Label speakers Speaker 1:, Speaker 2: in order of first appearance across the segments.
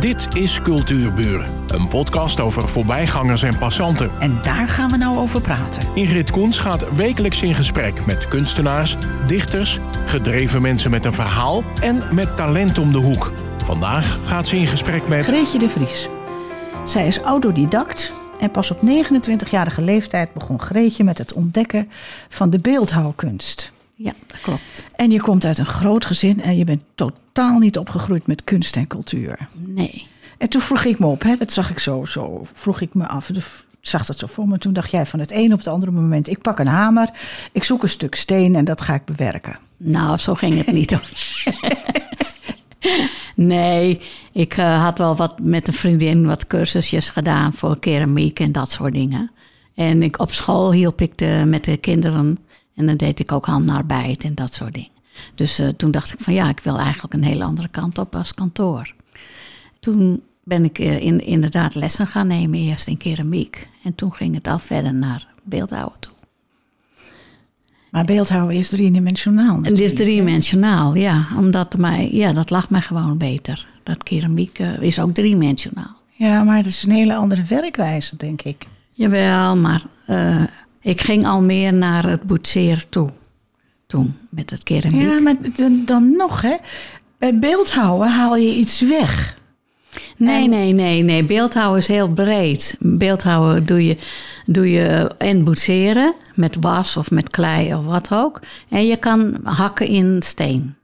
Speaker 1: Dit is Cultuurburen, een podcast over voorbijgangers en passanten.
Speaker 2: En daar gaan we nou over praten.
Speaker 1: Ingrid Koens gaat wekelijks in gesprek met kunstenaars, dichters, gedreven mensen met een verhaal en met talent om de hoek. Vandaag gaat ze in gesprek met.
Speaker 2: Greetje de Vries. Zij is autodidact en pas op 29-jarige leeftijd begon Greetje met het ontdekken van de beeldhouwkunst.
Speaker 3: Ja, dat klopt.
Speaker 2: En je komt uit een groot gezin en je bent totaal niet opgegroeid met kunst en cultuur.
Speaker 3: Nee.
Speaker 2: En toen vroeg ik me op, hè, dat zag ik zo, zo vroeg ik me af. de- Ik zag dat zo voor me. Toen dacht jij van het een op het andere moment, ik pak een hamer, ik zoek een stuk steen en dat ga ik bewerken.
Speaker 3: Nou, zo ging het niet hoor. nee, ik eh, had wel wat met een vriendin wat cursusjes gedaan voor keramiek en dat soort dingen. En ik, op school hielp ik de, met de kinderen en dan deed ik ook handarbeid en dat soort dingen. Dus eh, toen dacht ik van ja, ik wil eigenlijk een hele andere kant op als kantoor. Toen ben ik eh, in, inderdaad lessen gaan nemen, eerst in keramiek. En toen ging het al verder naar beeldhouwen toe.
Speaker 2: Maar beeldhouden is driedimensionaal.
Speaker 3: Het is
Speaker 2: natuurlijk.
Speaker 3: driedimensionaal, ja. Omdat mij, ja, dat lag mij gewoon beter. Dat keramiek eh, is ook driedimensionaal.
Speaker 2: Ja, maar het is een hele andere werkwijze, denk ik.
Speaker 3: Jawel, maar eh, ik ging al meer naar het boetseren toe. Toen, met het keramiek.
Speaker 2: Ja, maar dan, dan nog, hè? Bij beeldhouden haal je iets weg.
Speaker 3: Nee, nee, nee, nee. Beeldhouden is heel breed. Beeldhouden doe je, doe je en boetseren met was of met klei of wat ook. En je kan hakken in steen.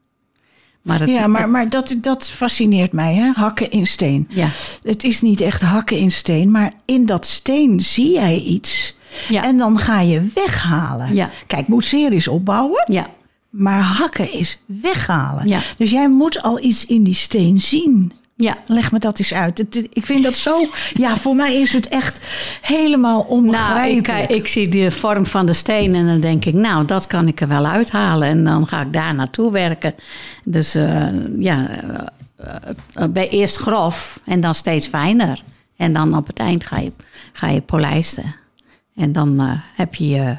Speaker 3: Maar het,
Speaker 2: Ja, maar, maar dat, dat fascineert mij, hè? Hakken in steen.
Speaker 3: Ja.
Speaker 2: Het is niet echt hakken in steen, maar in dat steen zie jij iets.
Speaker 3: Ja.
Speaker 2: En dan ga je weghalen.
Speaker 3: Ja.
Speaker 2: Kijk, boetseren is opbouwen,
Speaker 3: ja,
Speaker 2: maar hakken is weghalen.
Speaker 3: Ja.
Speaker 2: Dus jij moet al iets in die steen zien.
Speaker 3: ja.
Speaker 2: Leg me dat eens uit. Het- ik vind dat zo... Ja, voor mij is het echt helemaal
Speaker 3: Nou,
Speaker 2: onbegrijpelijk.
Speaker 3: ik, eh, ik zie de vorm van de steen en dan denk ik, nou, dat kan ik er wel uithalen. En dan ga ik daar naartoe werken. Dus eh, ja, eh, eh, bij eerst grof en dan steeds fijner. En dan op het eind ga je, ga je polijsten. En dan eh, heb je je,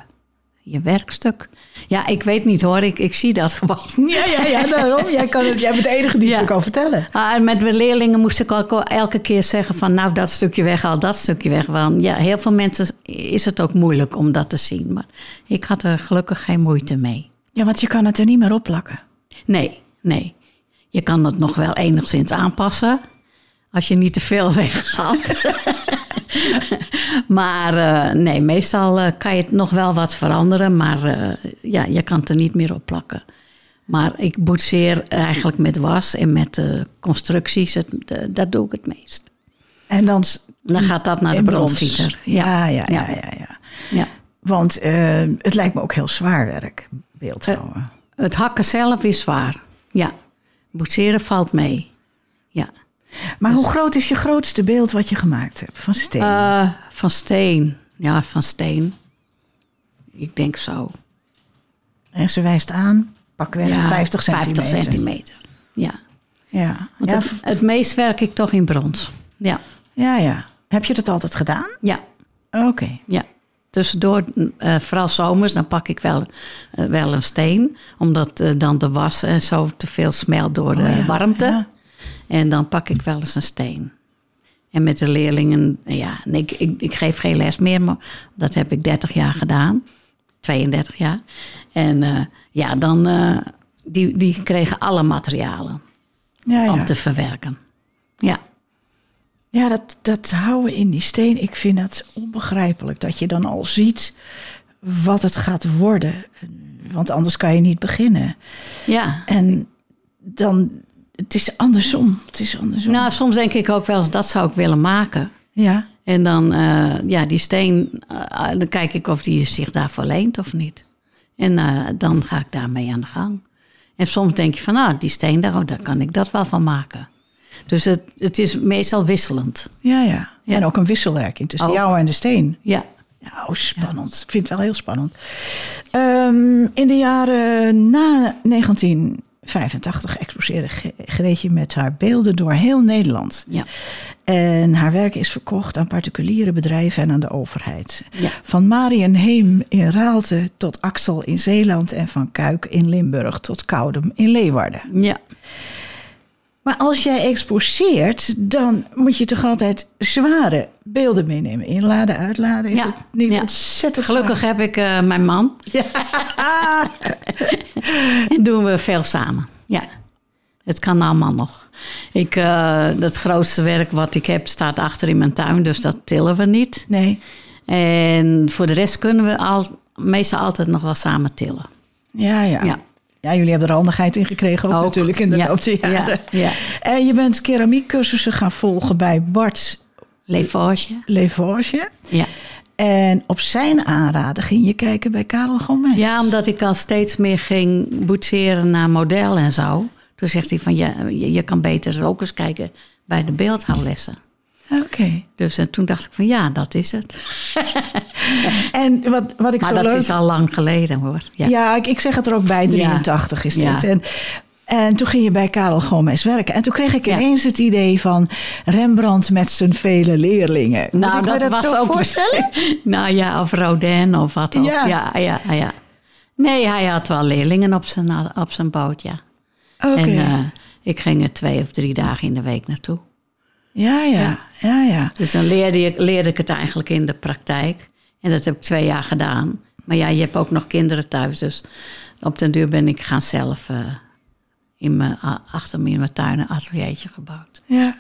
Speaker 3: je werkstuk. Ja, ik weet niet hoor, ik, ik zie dat gewoon.
Speaker 2: Ja, ja, ja, daarom. Jij, kan het, jij bent de enige die
Speaker 3: Ja.
Speaker 2: het kan vertellen.
Speaker 3: Ah, en met mijn leerlingen moest ik ook elke keer zeggen van nou dat stukje weg, al dat stukje weg. Want ja, heel veel mensen is het ook moeilijk om dat te zien. Maar ik had er gelukkig geen moeite mee.
Speaker 2: Ja, want je kan het er niet meer op plakken.
Speaker 3: Nee, nee. Je kan het nog wel enigszins aanpassen. Als je niet te veel weghaalt. maar eh, nee, meestal eh, kan je het nog wel wat veranderen. Maar eh, ja, je kan het er niet meer op plakken. Maar ik boetseer eigenlijk met was en met eh, constructies. Het, eh, dat doe ik het meest.
Speaker 2: En dan s-
Speaker 3: Dan gaat dat naar Nou, de
Speaker 2: in Mm. brons.
Speaker 3: brandschieter.
Speaker 2: Ja, ja, ja,
Speaker 3: Ja.
Speaker 2: ja. ja.
Speaker 3: ja.
Speaker 2: Want eh, het lijkt me ook heel zwaar werk,
Speaker 3: Eh,
Speaker 2: beeldhouden.
Speaker 3: Het hakken zelf is zwaar. Ja. Boetseren valt mee. Ja.
Speaker 2: maar hoe groot is je grootste beeld wat je gemaakt hebt van steen?
Speaker 3: dus- Eh, van steen. Ja, van steen. Ik denk zo.
Speaker 2: en ze wijst aan, pakweg
Speaker 3: Ja,
Speaker 2: 50 centimeter.
Speaker 3: 50 centimeter. Ja.
Speaker 2: Ja.
Speaker 3: Want
Speaker 2: Ja,
Speaker 3: het,
Speaker 2: v-
Speaker 3: het meest werk ik toch in brons. Ja.
Speaker 2: ja, ja. Heb je dat altijd gedaan?
Speaker 3: Ja.
Speaker 2: Oké.
Speaker 3: Ja. Tussendoor, eh, vooral zomers, dan pak ik wel, eh, wel een steen. Omdat eh, dan de was en zo te veel smelt door de
Speaker 2: Oh ja,
Speaker 3: warmte.
Speaker 2: ja.
Speaker 3: En dan pak ik wel eens een steen. En met de leerlingen, eh, ja, en ik, ik, ik geef geen les meer, maar dat heb ik 30 jaar gedaan. 32 jaar. En eh, ja, dan, eh, die, die kregen alle materialen
Speaker 2: Ja, ja.
Speaker 3: om te verwerken. Ja.
Speaker 2: Ja, dat, dat houden in die steen, ik vind dat onbegrijpelijk. Dat je dan al ziet wat het gaat worden. Want anders kan je niet beginnen.
Speaker 3: Ja.
Speaker 2: En dan, het is andersom. Het is andersom.
Speaker 3: Nou, soms denk ik ook wel eens, dat zou ik willen maken.
Speaker 2: ja.
Speaker 3: En dan, eh, ja, die steen, eh, dan kijk ik of die zich daarvoor leent of niet. En eh, dan ga ik daarmee aan de gang. En soms denk je van, ah, die steen, daar, oh, daar kan ik dat wel van maken. Dus het, het is meestal wisselend.
Speaker 2: Ja, ja,
Speaker 3: Ja. Oh.
Speaker 2: En ook een wisselwerking tussen
Speaker 3: Ook.
Speaker 2: jou en de steen.
Speaker 3: Ja,
Speaker 2: Nou, spannend. Ik vind het wel heel spannend. Ehm, in de jaren na 1985 exposeerde Ge- Greetje met haar beelden door heel Nederland.
Speaker 3: ja.
Speaker 2: En haar werk is verkocht aan particuliere bedrijven en aan de overheid.
Speaker 3: Ja.
Speaker 2: Van Marien Heem in Raalte tot Axel in Zeeland en van Kuik in Limburg tot Koudem in Leeuwarden.
Speaker 3: ja.
Speaker 2: Maar als jij exposeert, dan moet je toch altijd zware beelden meenemen. Inladen, uitladen. Is
Speaker 3: Ja,
Speaker 2: het niet
Speaker 3: ja.
Speaker 2: ontzettend
Speaker 3: Gelukkig heb ik eh, mijn man
Speaker 2: zwaar?
Speaker 3: en doen we veel samen. Ja, het kan allemaal nog. Ik, eh, het grootste werk wat ik heb staat achter in mijn tuin, dus dat tillen we niet.
Speaker 2: Nee.
Speaker 3: En voor de rest kunnen we al, meestal altijd nog wel samen tillen.
Speaker 2: Ja, ja. ja.
Speaker 3: Ja.
Speaker 2: jullie hebben er handigheid in gekregen ook,
Speaker 3: Ook.
Speaker 2: natuurlijk in de
Speaker 3: Ja,
Speaker 2: loop der
Speaker 3: ja,
Speaker 2: jaren.
Speaker 3: ja.
Speaker 2: En je bent keramiekcursussen gaan volgen bij Bart
Speaker 3: Leforge.
Speaker 2: Levorge.
Speaker 3: Ja.
Speaker 2: En op zijn aanraden ging je kijken bij Karel Gomes.
Speaker 3: ja, omdat ik al steeds meer ging boetseren naar modellen en zo. Toen zegt hij van, ja, je, je kan beter ook eens kijken bij de beeldhouwlessen.
Speaker 2: Oké.
Speaker 3: Dus eh, toen dacht ik van, ja, dat is het.
Speaker 2: En wat, wat ik
Speaker 3: Maar
Speaker 2: zo
Speaker 3: dat
Speaker 2: leuk
Speaker 3: is al lang geleden hoor. Ja.
Speaker 2: Ja, ik, ik zeg het er ook bij, 83 is dit.
Speaker 3: Ja.
Speaker 2: En, en toen ging je bij Karel Gomes werken. En toen kreeg ik
Speaker 3: Ja.
Speaker 2: ineens het idee van Rembrandt met zijn vele leerlingen. Moet ik me dat zo voorstellen?
Speaker 3: nou ja, of Rodin of wat ook.
Speaker 2: Ja.
Speaker 3: Ja. Ja, ja, Nee, hij had wel leerlingen op zijn, op zijn boot, ja.
Speaker 2: Oké.
Speaker 3: En eh, ik ging er twee of drie dagen in de week naartoe.
Speaker 2: ja, ja,
Speaker 3: ja.
Speaker 2: ja, ja.
Speaker 3: Dus dan leerde, ik, leerde ik het eigenlijk in de praktijk. En dat heb ik twee jaar gedaan. Maar ja, je hebt ook nog kinderen thuis. Dus op den duur ben ik gaan zelf eh, in mijn, a- achter me in mijn tuin een ateliertje gebouwd.
Speaker 2: ja.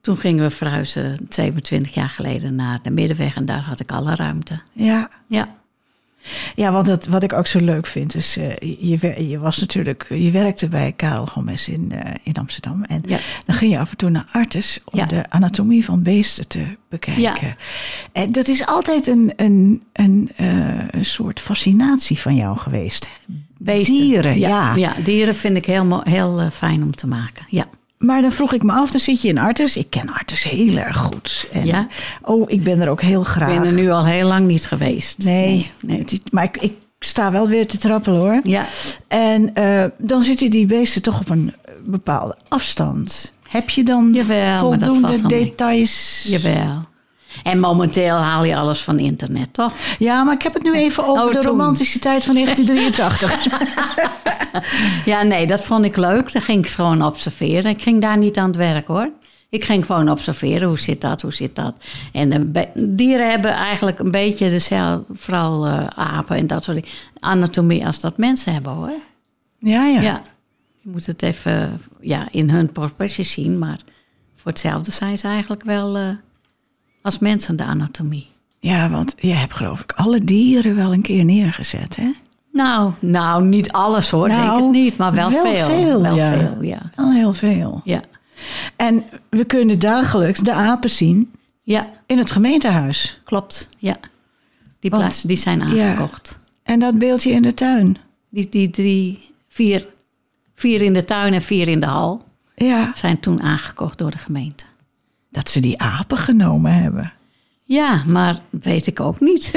Speaker 3: Toen gingen we verhuizen 27 jaar geleden naar de Middenweg. En daar had ik alle ruimte.
Speaker 2: Ja,
Speaker 3: Ja,
Speaker 2: ja want dat, wat ik ook zo leuk vind is, eh, je, wer- je was natuurlijk, je werkte bij Karel Gomes in, eh, in Amsterdam. En
Speaker 3: Ja.
Speaker 2: dan ging je af en toe naar Artes om
Speaker 3: Ja.
Speaker 2: de anatomie van beesten te bekijken.
Speaker 3: Ja.
Speaker 2: En dat is altijd een, een, een, eh, een soort fascinatie van jou geweest. hè?
Speaker 3: beesten.
Speaker 2: Dieren, ja.
Speaker 3: ja. dieren vind ik heel, mo- heel eh, fijn om te maken. Ja.
Speaker 2: Maar dan vroeg ik me af, dan zit je in Artes. Ik ken Artes heel erg goed. En,
Speaker 3: Ja.
Speaker 2: Oh, ik ben er ook heel graag.
Speaker 3: Ik ben er nu al heel lang niet geweest.
Speaker 2: Nee, het is- maar ik, ik sta wel weer te trappelen hoor.
Speaker 3: Ja,
Speaker 2: En eh, dan zitten die beesten toch op een bepaalde afstand. Heb je dan
Speaker 3: Jawel, maar dat valt
Speaker 2: voldoende
Speaker 3: wel mee.
Speaker 2: details?
Speaker 3: jawel. En momenteel haal je alles van internet, toch?
Speaker 2: Ja, maar ik heb het nu even over
Speaker 3: Oh,
Speaker 2: de
Speaker 3: toen.
Speaker 2: romantische tijd van 1983.
Speaker 3: Ja, nee, dat vond ik leuk. Dan ging ik gewoon observeren. Ik ging daar niet aan het werk hoor. Ik ging gewoon observeren. Hoe zit dat? Hoe zit dat? En eh, be- dieren hebben eigenlijk een beetje dezelfde, vooral eh, apen en dat soort dingen, anatomie als dat mensen hebben hoor.
Speaker 2: ja, ja,
Speaker 3: Ja. Je moet het even ja, in hun proportie zien, maar voor hetzelfde zijn ze eigenlijk wel eh, als mensen de anatomie.
Speaker 2: Ja, want je hebt geloof ik alle dieren wel een keer neergezet, hè?
Speaker 3: Nou, nou, niet alles hoor, denk
Speaker 2: Nou,
Speaker 3: ik niet, maar wel,
Speaker 2: wel
Speaker 3: veel.
Speaker 2: veel,
Speaker 3: wel
Speaker 2: ja.
Speaker 3: veel, ja.
Speaker 2: Wel heel veel.
Speaker 3: Ja,
Speaker 2: En we kunnen dagelijks de apen zien
Speaker 3: ja
Speaker 2: in het gemeentehuis.
Speaker 3: klopt. Ja. Die,
Speaker 2: Want-
Speaker 3: plaatsen die zijn aangekocht.
Speaker 2: En dat beeldje in de tuin.
Speaker 3: Die, die drie, vier, vier in de tuin en vier in de hal
Speaker 2: Ja,
Speaker 3: zijn toen aangekocht door de gemeente.
Speaker 2: dat ze die apen genomen hebben.
Speaker 3: Ja, maar weet ik ook niet.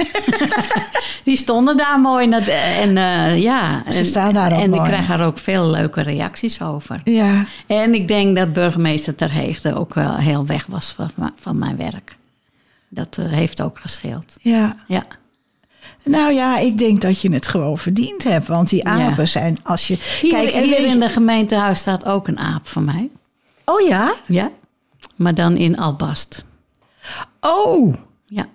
Speaker 3: die stonden daar mooi. En, en eh, ja,
Speaker 2: Ze
Speaker 3: en,
Speaker 2: staan daar ook
Speaker 3: En
Speaker 2: mooi.
Speaker 3: ik krijg er ook veel leuke reacties over.
Speaker 2: Ja,
Speaker 3: En ik denk dat burgemeester Terheegde ook wel heel weg was van, ma- van mijn werk. Dat eh, heeft ook gescheeld.
Speaker 2: ja.
Speaker 3: Ja,
Speaker 2: Nou ja, ik denk dat je het gewoon verdiend hebt. Want die
Speaker 3: Ja.
Speaker 2: apen zijn als je.
Speaker 3: hier,
Speaker 2: Kijk, en
Speaker 3: hier
Speaker 2: weet
Speaker 3: in
Speaker 2: je-
Speaker 3: de gemeentehuis staat ook een aap van mij.
Speaker 2: Oh ja?
Speaker 3: Ja, maar dan in Albast.
Speaker 2: Oh!
Speaker 3: Ja,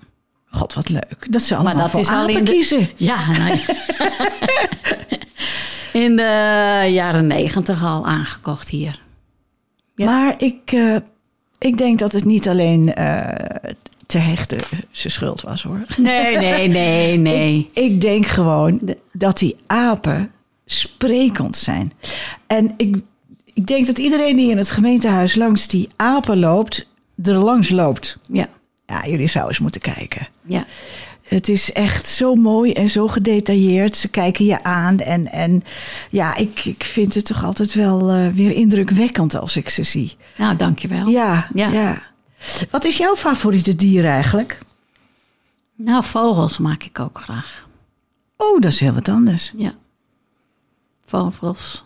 Speaker 2: God, wat leuk. Dat ze allemaal
Speaker 3: dat
Speaker 2: voor
Speaker 3: is al
Speaker 2: apen
Speaker 3: in de-
Speaker 2: kiezen.
Speaker 3: ja, nou ja. In de jaren negentig al aangekocht hier. Ja.
Speaker 2: Maar ik, eh, ik denk dat het niet alleen eh te hechten zijn schuld was hoor.
Speaker 3: Nee, nee, nee, nee.
Speaker 2: Ik denk gewoon dat die apen sprekend zijn. En ik, ik denk dat iedereen die in het gemeentehuis langs die apen loopt, er langs loopt.
Speaker 3: Ja,
Speaker 2: Ja, jullie zouden eens moeten kijken.
Speaker 3: ja.
Speaker 2: Het is echt zo mooi en zo gedetailleerd. Ze kijken je aan. En, en ja, ik, ik vind het toch altijd wel eh, weer indrukwekkend als ik ze zie.
Speaker 3: Nou, dankjewel.
Speaker 2: Ja, ja,
Speaker 3: Ja.
Speaker 2: Wat is jouw favoriete dier eigenlijk?
Speaker 3: Nou, vogels maak ik ook graag.
Speaker 2: Oh, dat is heel wat anders.
Speaker 3: Ja. Vogels.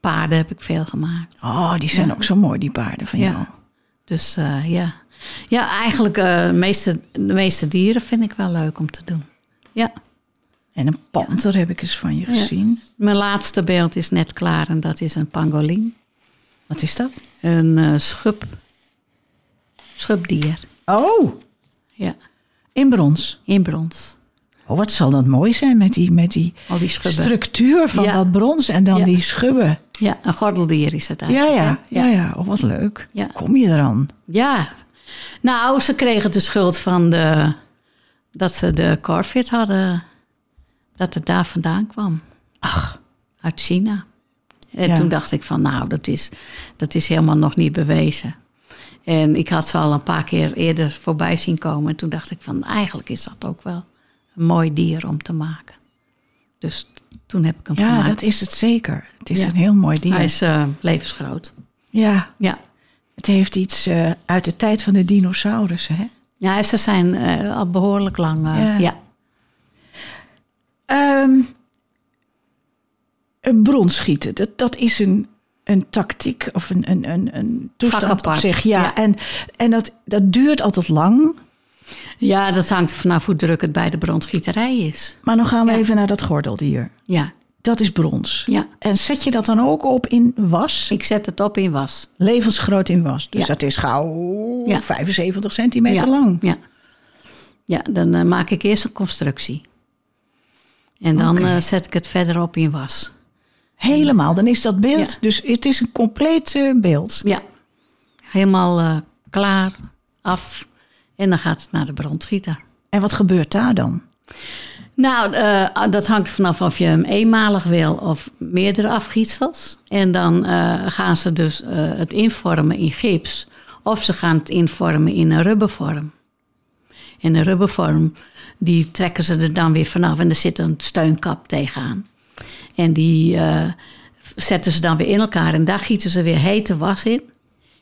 Speaker 3: Paarden heb ik veel gemaakt.
Speaker 2: Oh, die zijn ook zo mooi, die paarden van
Speaker 3: Ja.
Speaker 2: jou.
Speaker 3: Dus eh, ja. Ja, eigenlijk eh, de meeste, de meeste dieren vind ik wel leuk om te doen. Ja.
Speaker 2: En een panter heb ik eens van je gezien.
Speaker 3: Mijn laatste beeld is net klaar en dat is een pangolin.
Speaker 2: Wat is dat?
Speaker 3: Een eh, schub. Schubdier.
Speaker 2: Oh,
Speaker 3: Ja,
Speaker 2: in brons.
Speaker 3: in brons.
Speaker 2: Oh, wat zal dat mooi zijn met die, met die
Speaker 3: Al die schubben.
Speaker 2: structuur van
Speaker 3: Ja.
Speaker 2: dat brons en dan
Speaker 3: Ja.
Speaker 2: die schubben.
Speaker 3: ja, een gordeldier is het
Speaker 2: Ja,
Speaker 3: eigenlijk.
Speaker 2: ja, ja,
Speaker 3: ja.
Speaker 2: ja. Oh, wat leuk.
Speaker 3: Ja.
Speaker 2: Kom je eraan?
Speaker 3: Ja. Nou, ze kregen de schuld van de, dat ze de Corvid hadden. Dat het daar vandaan kwam.
Speaker 2: Ach,
Speaker 3: Uit China. En
Speaker 2: Ja.
Speaker 3: toen dacht ik van, nou, dat is, dat is helemaal nog niet bewezen. En ik had ze al een paar keer eerder voorbij zien komen. En toen dacht ik van, eigenlijk is dat ook wel een mooi dier om te maken. Dus toen heb ik hem
Speaker 2: ja,
Speaker 3: gemaakt.
Speaker 2: dat is het zeker. Het is
Speaker 3: Ja.
Speaker 2: een heel mooi dier.
Speaker 3: Hij is eh, levensgroot.
Speaker 2: Ja,
Speaker 3: Ja.
Speaker 2: het heeft iets eh, uit de tijd van de dinosaurussen. Hè?
Speaker 3: ja, ze zijn eh, al behoorlijk lang. eh,
Speaker 2: Ja.
Speaker 3: ja.
Speaker 2: Ehm, een bronschieten, dat, dat is een, een tactiek of een, een, een, een toestand op
Speaker 3: apart,
Speaker 2: zich. Ja,
Speaker 3: ja.
Speaker 2: en, en dat, dat duurt altijd lang.
Speaker 3: Ja, dat hangt er vanaf hoe druk het bij de bronsgieterij is.
Speaker 2: Maar dan gaan we
Speaker 3: Ja.
Speaker 2: even naar dat gordeldier.
Speaker 3: Ja,
Speaker 2: Dat is brons.
Speaker 3: ja.
Speaker 2: En zet je dat dan ook op in was?
Speaker 3: Ik zet het op in was.
Speaker 2: Levensgroot in was. Dus
Speaker 3: Ja.
Speaker 2: dat is gauw
Speaker 3: Ja.
Speaker 2: 75 centimeter
Speaker 3: ja.
Speaker 2: lang.
Speaker 3: Ja. Ja, dan eh, maak ik eerst een constructie. En dan
Speaker 2: Oké.
Speaker 3: eh, zet ik het verder op in was.
Speaker 2: Helemaal. Dan is dat beeld.
Speaker 3: Ja.
Speaker 2: Dus het is een compleet eh, beeld.
Speaker 3: Ja. Helemaal eh, klaar, af. En dan gaat het naar de bronsgieter.
Speaker 2: En wat gebeurt daar dan?
Speaker 3: Nou, eh, dat hangt er vanaf of je hem eenmalig wil of meerdere afgietsels. En dan eh, gaan ze dus eh, het invormen in gips. Of ze gaan het invormen in een rubbervorm. En een rubbervorm, die trekken ze er dan weer vanaf. En er zit een steunkap tegenaan. En die eh, zetten ze dan weer in elkaar. En daar gieten ze weer hete was in.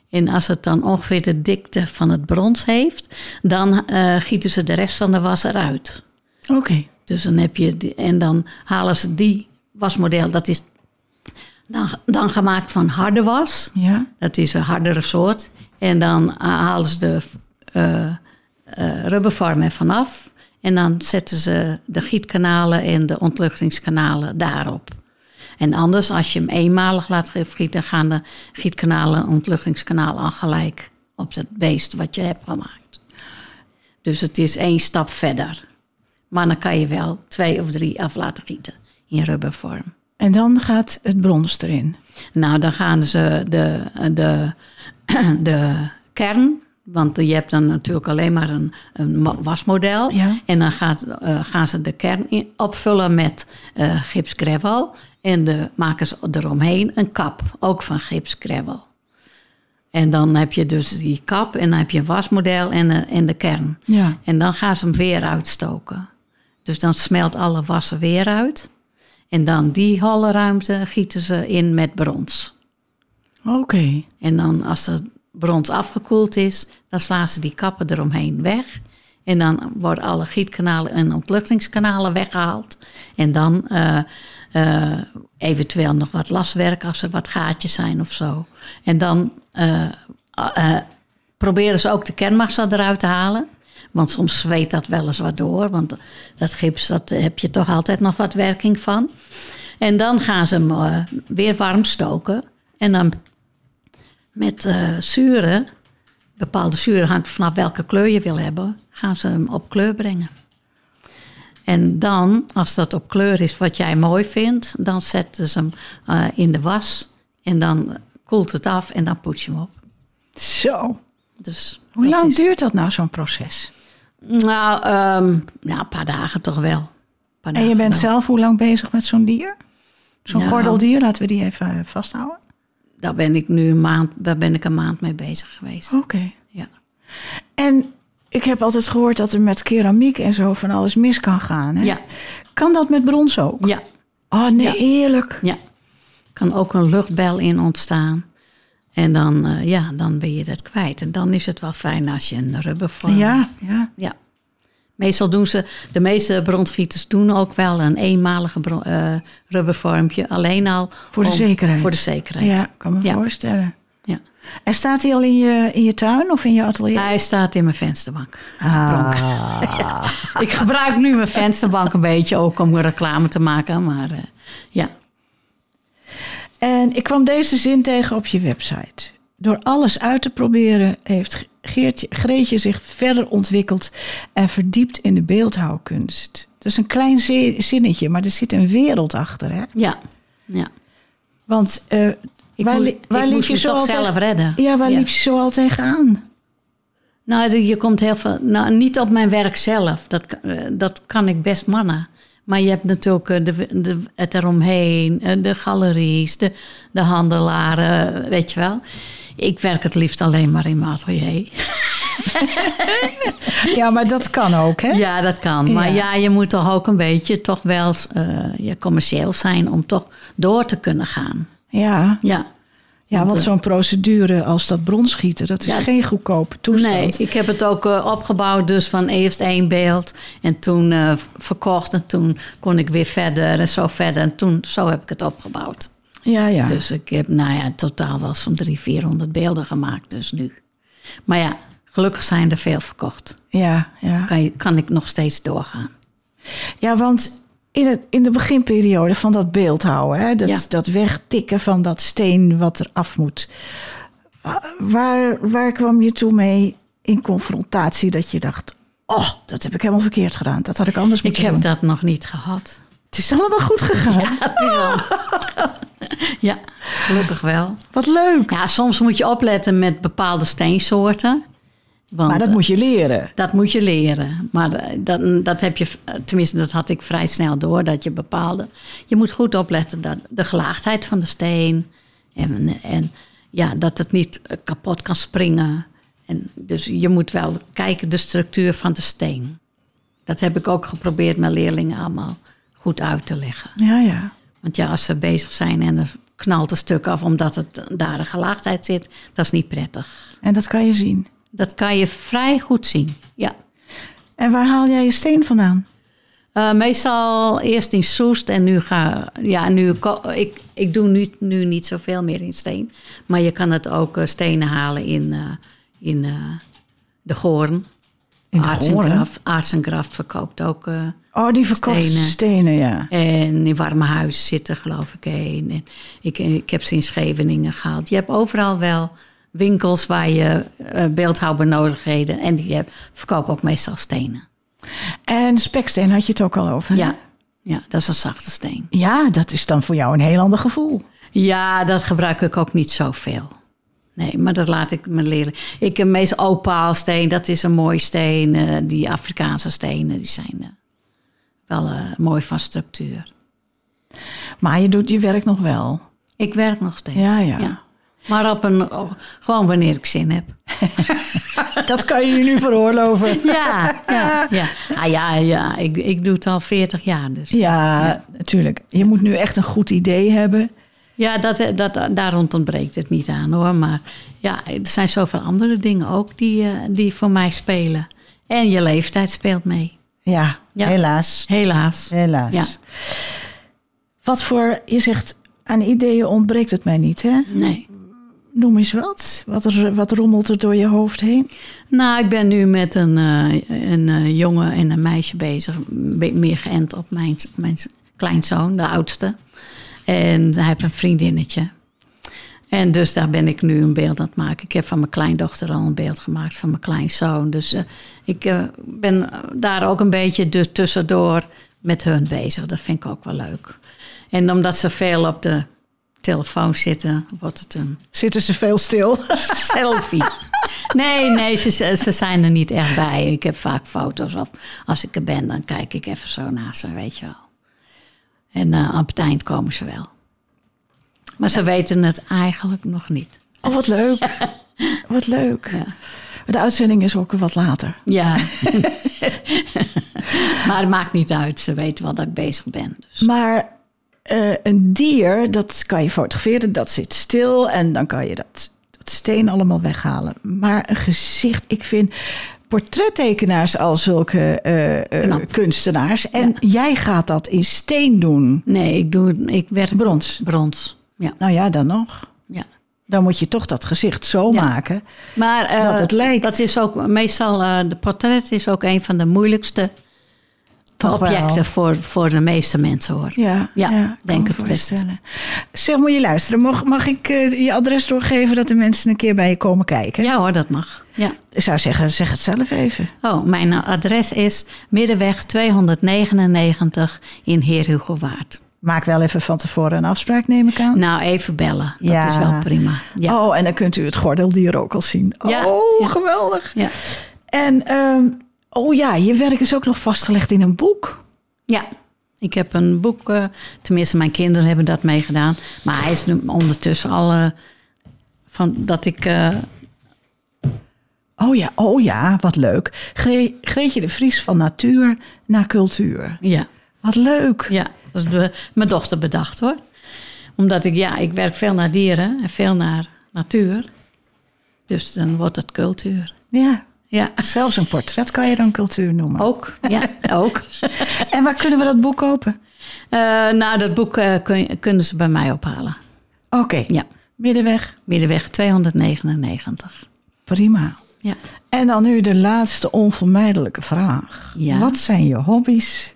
Speaker 3: En als het dan ongeveer de dikte van het brons heeft, dan eh, gieten ze de rest van de was eruit.
Speaker 2: Oké.
Speaker 3: Dus dan heb je, die- en dan halen ze die wasmodel, dat is dan, dan gemaakt van harde was.
Speaker 2: Ja.
Speaker 3: Dat is een hardere soort. En dan ha- halen ze de eh eh rubbervorm er vanaf. En dan zetten ze de gietkanalen en de ontluchtingskanalen daarop. En anders, als je hem eenmalig laat gieten, gaan de gietkanalen en ontluchtingskanalen al gelijk op dat beest wat je hebt gemaakt. Dus het is één stap verder. Maar dan kan je wel twee of drie af laten gieten in rubbervorm.
Speaker 2: En dan gaat het brons erin.
Speaker 3: Nou, dan gaan ze de, de, de kern. Want je hebt dan natuurlijk alleen maar een, een ma- wasmodel.
Speaker 2: Ja.
Speaker 3: En dan gaat, eh, gaan ze de kern in- opvullen met eh gipsgravel. En de, maken ze eromheen een kap, ook van gipsgravel. En dan heb je dus die kap en dan heb je een wasmodel en, de- en de kern.
Speaker 2: Ja.
Speaker 3: En dan gaan ze hem weer uitstoken. Dus dan smelt alle wassen weer uit. En dan die holle ruimte gieten ze in met brons.
Speaker 2: Oké.
Speaker 3: En dan als dat brons afgekoeld is, dan slaan ze die kappen eromheen weg. En dan worden alle gietkanalen en ontluchtingskanalen weggehaald. En dan eh, eh, eventueel nog wat laswerk als er wat gaatjes zijn of zo. En dan eh, eh, proberen ze ook de kernmassa eruit te halen. Want soms zweet dat wel eens wat door. Want dat gips, dat heb je toch altijd nog wat werking van. En dan gaan ze hem eh, weer warm stoken. En dan met eh, zuren, bepaalde zuren hangt vanaf welke kleur je wil hebben, gaan ze hem op kleur brengen. En dan, als dat op kleur is wat jij mooi vindt, dan zetten ze hem eh, in de was en dan koelt het af en dan poets je hem op.
Speaker 2: Zo.
Speaker 3: Dus
Speaker 2: Hoe
Speaker 3: dat
Speaker 2: lang
Speaker 3: is-
Speaker 2: duurt dat nou, zo'n proces?
Speaker 3: Nou, ehm, ja, een paar dagen toch wel. Een paar
Speaker 2: en je
Speaker 3: dagen
Speaker 2: bent
Speaker 3: wel.
Speaker 2: zelf hoe lang bezig met zo'n dier? Zo'n
Speaker 3: Nou.
Speaker 2: gordeldier, laten we die even eh, vasthouden.
Speaker 3: Daar ben ik nu een maand, daar ben ik een maand mee bezig geweest.
Speaker 2: Oké.
Speaker 3: Ja.
Speaker 2: En ik heb altijd gehoord dat er met keramiek en zo van alles mis kan gaan. Hè?
Speaker 3: Ja.
Speaker 2: Kan dat met brons ook?
Speaker 3: ja,
Speaker 2: Oh nee,
Speaker 3: Ja.
Speaker 2: eerlijk.
Speaker 3: Ja, kan ook een luchtbel in ontstaan. En dan, eh, ja, dan ben je dat kwijt. En dan is het wel fijn als je een rubbervorm...
Speaker 2: Ja, ja.
Speaker 3: ja. Meestal doen ze, de meeste bronsgieters doen ook wel een eenmalige bron- eh, rubbervormpje. Alleen al...
Speaker 2: Voor de zekerheid.
Speaker 3: Voor de zekerheid.
Speaker 2: Ja, kan me
Speaker 3: Ja.
Speaker 2: voorstellen.
Speaker 3: Ja.
Speaker 2: En staat hij al in je, in je tuin of in je atelier?
Speaker 3: Hij staat in mijn vensterbank.
Speaker 2: Ah.
Speaker 3: Ik gebruik nu mijn vensterbank een beetje ook om reclame te maken. Maar eh, ja,
Speaker 2: En ik kwam deze zin tegen op je website. Door alles uit te proberen heeft Geertje, Greetje zich verder ontwikkeld en verdiept in de beeldhouwkunst. Dat is een klein zi- zinnetje, maar er zit een wereld achter. Hè?
Speaker 3: Ja, ja.
Speaker 2: Want eh,
Speaker 3: Ik,
Speaker 2: waar,
Speaker 3: moe-
Speaker 2: li- waar
Speaker 3: ik
Speaker 2: liep
Speaker 3: moest
Speaker 2: je
Speaker 3: me
Speaker 2: zo
Speaker 3: toch
Speaker 2: al
Speaker 3: zelf
Speaker 2: tegen-
Speaker 3: redden.
Speaker 2: Ja, waar liep je zo al tegenaan?
Speaker 3: Nou, de- je komt heel veel... Nou, niet op mijn werk zelf. Dat, k- eh, dat kan ik best mannen. Maar je hebt natuurlijk eh, de, de, het eromheen, eh, de galeries, de, de handelaren, eh, weet je wel. Ik werk het liefst alleen maar in mijn atelier.
Speaker 2: Ja, maar dat kan ook, hè?
Speaker 3: Ja, dat kan. Maar
Speaker 2: Ja.
Speaker 3: ja. je moet toch ook een beetje toch wel eh, ja, commercieel zijn om toch door te kunnen gaan.
Speaker 2: Ja,
Speaker 3: Ja.
Speaker 2: ja want zo'n procedure als dat bronschieten, dat is
Speaker 3: eh, Ja.
Speaker 2: geen goedkope toestand.
Speaker 3: Nee, ik heb het ook eh, opgebouwd, dus van eerst één beeld en toen eh, v- verkocht en toen kon ik weer verder en zo verder. En toen, zo heb ik het opgebouwd.
Speaker 2: Ja, ja.
Speaker 3: Dus ik heb, nou ja, in totaal wel zo'n 300, 400 beelden gemaakt, dus nu. Maar ja, gelukkig zijn er veel verkocht.
Speaker 2: ja, ja.
Speaker 3: Kan, je, kan ik nog steeds doorgaan.
Speaker 2: ja want in, het, in de beginperiode van dat beeldhouden, hè, dat,
Speaker 3: Ja.
Speaker 2: dat wegtikken van dat steen wat er af moet. Wa- Waar, waar kwam je toen mee in confrontatie dat je dacht... oh, dat heb ik helemaal verkeerd gedaan. Dat had ik anders
Speaker 3: Ik
Speaker 2: moeten
Speaker 3: heb
Speaker 2: doen.
Speaker 3: dat nog niet gehad.
Speaker 2: Het is allemaal goed gegaan.
Speaker 3: Het is wel. ja, gelukkig wel.
Speaker 2: Wat leuk.
Speaker 3: Ja, soms moet je opletten met bepaalde steensoorten. Want eh,
Speaker 2: Maar dat moet je leren.
Speaker 3: Dat moet je leren. Maar eh, dat, dat heb je, eh, tenminste, dat had ik vrij snel door, dat je bepaalde. Je moet goed opletten dat de gelaagdheid van de steen. En, en ja, dat het niet eh, kapot kan springen. En dus je moet wel kijken de structuur van de steen. Dat heb ik ook geprobeerd mijn leerlingen allemaal goed uit te leggen.
Speaker 2: Ja, ja.
Speaker 3: Want ja, als ze bezig zijn en er knalt een stuk af omdat het eh, daar een gelaagdheid zit, dat is niet prettig.
Speaker 2: En dat kan je zien.
Speaker 3: Dat kan je vrij goed zien. Ja.
Speaker 2: En waar haal jij je steen vandaan?
Speaker 3: Eh, meestal eerst in Soest en nu ga ja, nu, ko- ik. Ik doe nu, nu niet zoveel meer in steen. Maar je kan het ook eh, stenen halen in, eh, in eh, de Goorn.
Speaker 2: In de
Speaker 3: Arts en
Speaker 2: Goorn?
Speaker 3: Graft- Arts en Graft verkoopt ook. eh,
Speaker 2: Oh, die verkocht stenen,
Speaker 3: Stenen.
Speaker 2: ja.
Speaker 3: en in warme huizen zitten, geloof ik, heen. En ik, ik heb ze in Scheveningen gehaald. Je hebt overal wel winkels waar je eh beeldhouwbenodigdheden... en die heb- verkopen ook meestal stenen.
Speaker 2: En speksteen had je het ook al over. hè?
Speaker 3: Ja, ja, dat is een zachte steen.
Speaker 2: Ja, dat is dan voor jou een heel ander gevoel.
Speaker 3: Ja, dat gebruik ik ook niet zoveel. Nee, maar dat laat ik me leren. Ik eh, heb meest opaalsteen, dat is een mooie steen. eh, die Afrikaanse stenen, die zijn eh, wel eh, mooi van structuur.
Speaker 2: Maar je doet je werk nog wel.
Speaker 3: Ik werk nog steeds.
Speaker 2: Ja, ja.
Speaker 3: Maar op een, oh, gewoon wanneer ik zin heb.
Speaker 2: Dat kan je je nu veroorloven.
Speaker 3: Ja, ja, ja. Ah, ja, ja. Ik, ik doe het al 40 jaar dus.
Speaker 2: Ja, natuurlijk. Je moet nu echt een goed idee hebben.
Speaker 3: Ja, dat, eh, dat, daar ontbreekt het niet aan hoor. Maar ja, er zijn zoveel andere dingen ook die, eh, die voor mij spelen. En je leeftijd speelt mee.
Speaker 2: Ja,
Speaker 3: Ja.
Speaker 2: helaas.
Speaker 3: Helaas.
Speaker 2: Helaas.
Speaker 3: Ja.
Speaker 2: Wat voor, je zegt, aan ideeën ontbreekt het mij niet, hè?
Speaker 3: Nee.
Speaker 2: Noem eens wat. Wat, er, wat rommelt er door je hoofd heen?
Speaker 3: Nou, ik ben nu met een, eh, een eh, jongen en een meisje bezig. Een beetje Meer geënt op mijn, mijn kleinzoon, de oudste. En hij heeft een vriendinnetje. En dus daar ben ik nu een beeld aan het maken. Ik heb van mijn kleindochter al een beeld gemaakt van mijn kleinzoon. Dus eh, ik eh, ben daar ook een beetje dus tussendoor met hun bezig. Dat vind ik ook wel leuk. En omdat ze veel op de telefoon zitten, wordt het een
Speaker 2: Zitten ze veel stil?
Speaker 3: selfie. Nee, nee, ze, ze zijn er niet echt bij. Ik heb vaak foto's of als ik er ben, dan kijk ik even zo naast ze, weet je wel. En eh, aan het eind komen ze wel. Maar ze weten het eigenlijk nog niet.
Speaker 2: Oh, wat leuk. Wat leuk.
Speaker 3: Ja.
Speaker 2: De uitzending is ook wat later.
Speaker 3: Ja. maar het maakt niet uit. Ze weten wel dat ik bezig ben. Dus.
Speaker 2: Maar eh, een dier, dat kan je fotograferen, dat zit stil en dan kan je dat, dat steen allemaal weghalen. Maar een gezicht, ik vind portrettekenaars al zulke eh, eh,
Speaker 3: Knap.
Speaker 2: kunstenaars. En jij gaat dat in steen doen,
Speaker 3: Nee, ik, doe, ik werk
Speaker 2: brons.
Speaker 3: brons. Ja,
Speaker 2: Nou ja, dan nog.
Speaker 3: ja.
Speaker 2: Dan moet je toch dat gezicht zo
Speaker 3: Ja.
Speaker 2: maken.
Speaker 3: Maar eh,
Speaker 2: Dat het lijkt.
Speaker 3: dat is ook meestal, eh, de portret is ook een van de moeilijkste
Speaker 2: Toch wel.
Speaker 3: objecten voor, voor de meeste mensen hoor.
Speaker 2: Ja,
Speaker 3: Ja,
Speaker 2: ja,
Speaker 3: denk
Speaker 2: kan me
Speaker 3: het best.
Speaker 2: voorstellen. Zeg, moet je luisteren. Mag, mag ik eh, je adres doorgeven dat de mensen een keer bij je komen kijken?
Speaker 3: Ja hoor, dat mag. Ja.
Speaker 2: Ik zou zeggen, zeg het zelf even.
Speaker 3: Oh, mijn adres is Middenweg 299 in Heer Hugowaard.
Speaker 2: Maak wel even van tevoren een afspraak, neem ik aan.
Speaker 3: Nou, even bellen. Dat
Speaker 2: Ja.
Speaker 3: is wel prima. Ja.
Speaker 2: Oh, en dan kunt u het gordeldier ook al zien.
Speaker 3: Ja,
Speaker 2: oh,
Speaker 3: ja.
Speaker 2: geweldig.
Speaker 3: Ja.
Speaker 2: En, ehm, oh ja, je werk is ook nog vastgelegd in een boek.
Speaker 3: ja, ik heb een boek, eh, tenminste mijn kinderen hebben dat meegedaan. Maar hij is nu ondertussen al eh, van dat ik... eh,
Speaker 2: Oh ja, oh ja, wat leuk. Gre- Greetje de Vries van natuur naar cultuur.
Speaker 3: ja,
Speaker 2: Wat leuk.
Speaker 3: ja, dat is de- mijn dochter bedacht hoor. Omdat ik, ja, ik werk veel naar dieren en veel naar natuur. Dus dan wordt het cultuur.
Speaker 2: Ja,
Speaker 3: Ja,
Speaker 2: zelfs een portret kan je dan cultuur noemen.
Speaker 3: ook. Ja, ook.
Speaker 2: En waar kunnen we dat boek kopen?
Speaker 3: Eh, nou, dat boek eh, kun- kunnen ze bij mij ophalen.
Speaker 2: Oké,
Speaker 3: Ja,
Speaker 2: middenweg.
Speaker 3: Middenweg 299.
Speaker 2: Prima.
Speaker 3: Ja.
Speaker 2: En dan nu de laatste onvermijdelijke vraag.
Speaker 3: Ja.
Speaker 2: Wat zijn je hobby's?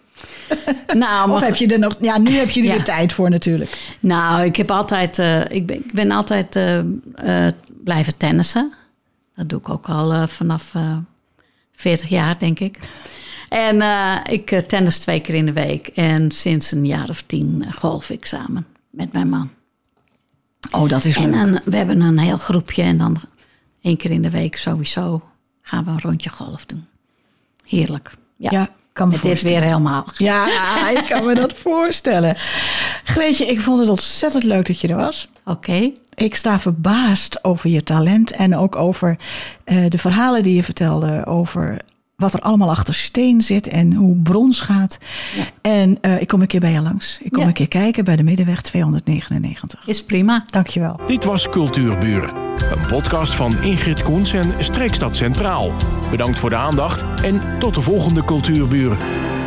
Speaker 3: Nou,
Speaker 2: Of
Speaker 3: mag-
Speaker 2: heb je er nog... Ja, nu heb je er
Speaker 3: Ja.
Speaker 2: weer tijd voor natuurlijk.
Speaker 3: nou ik, heb altijd, eh, ik, ben, ik ben altijd eh, eh, blijven tennissen. Dat doe ik ook al eh, vanaf eh 40 jaar, denk ik. En eh, ik eh, tennis twee keer in de week. En sinds een jaar of tien eh, golf ik samen met mijn man.
Speaker 2: Oh, dat is
Speaker 3: En
Speaker 2: leuk.
Speaker 3: een- we hebben een heel groepje. En dan één keer in de week sowieso gaan we een rondje golf doen. Heerlijk. Ja,
Speaker 2: ja, kan me
Speaker 3: het is
Speaker 2: voorstellen.
Speaker 3: weer helemaal.
Speaker 2: Ja, ik kan me dat voorstellen. Greetje, ik vond het ontzettend leuk dat je er was.
Speaker 3: Oké.
Speaker 2: Ik sta verbaasd over je talent en ook over eh, de verhalen die je vertelde over wat er allemaal achter steen zit en hoe brons gaat.
Speaker 3: Ja.
Speaker 2: En eh, ik kom een keer bij je langs. Ik kom
Speaker 3: Ja.
Speaker 2: een keer kijken bij de Middenweg 299.
Speaker 3: Is prima.
Speaker 2: Dankjewel.
Speaker 1: Dit was Cultuurburen, een podcast van Ingrid Koens en Streekstad Centraal. Bedankt voor de aandacht en tot de volgende Cultuurburen.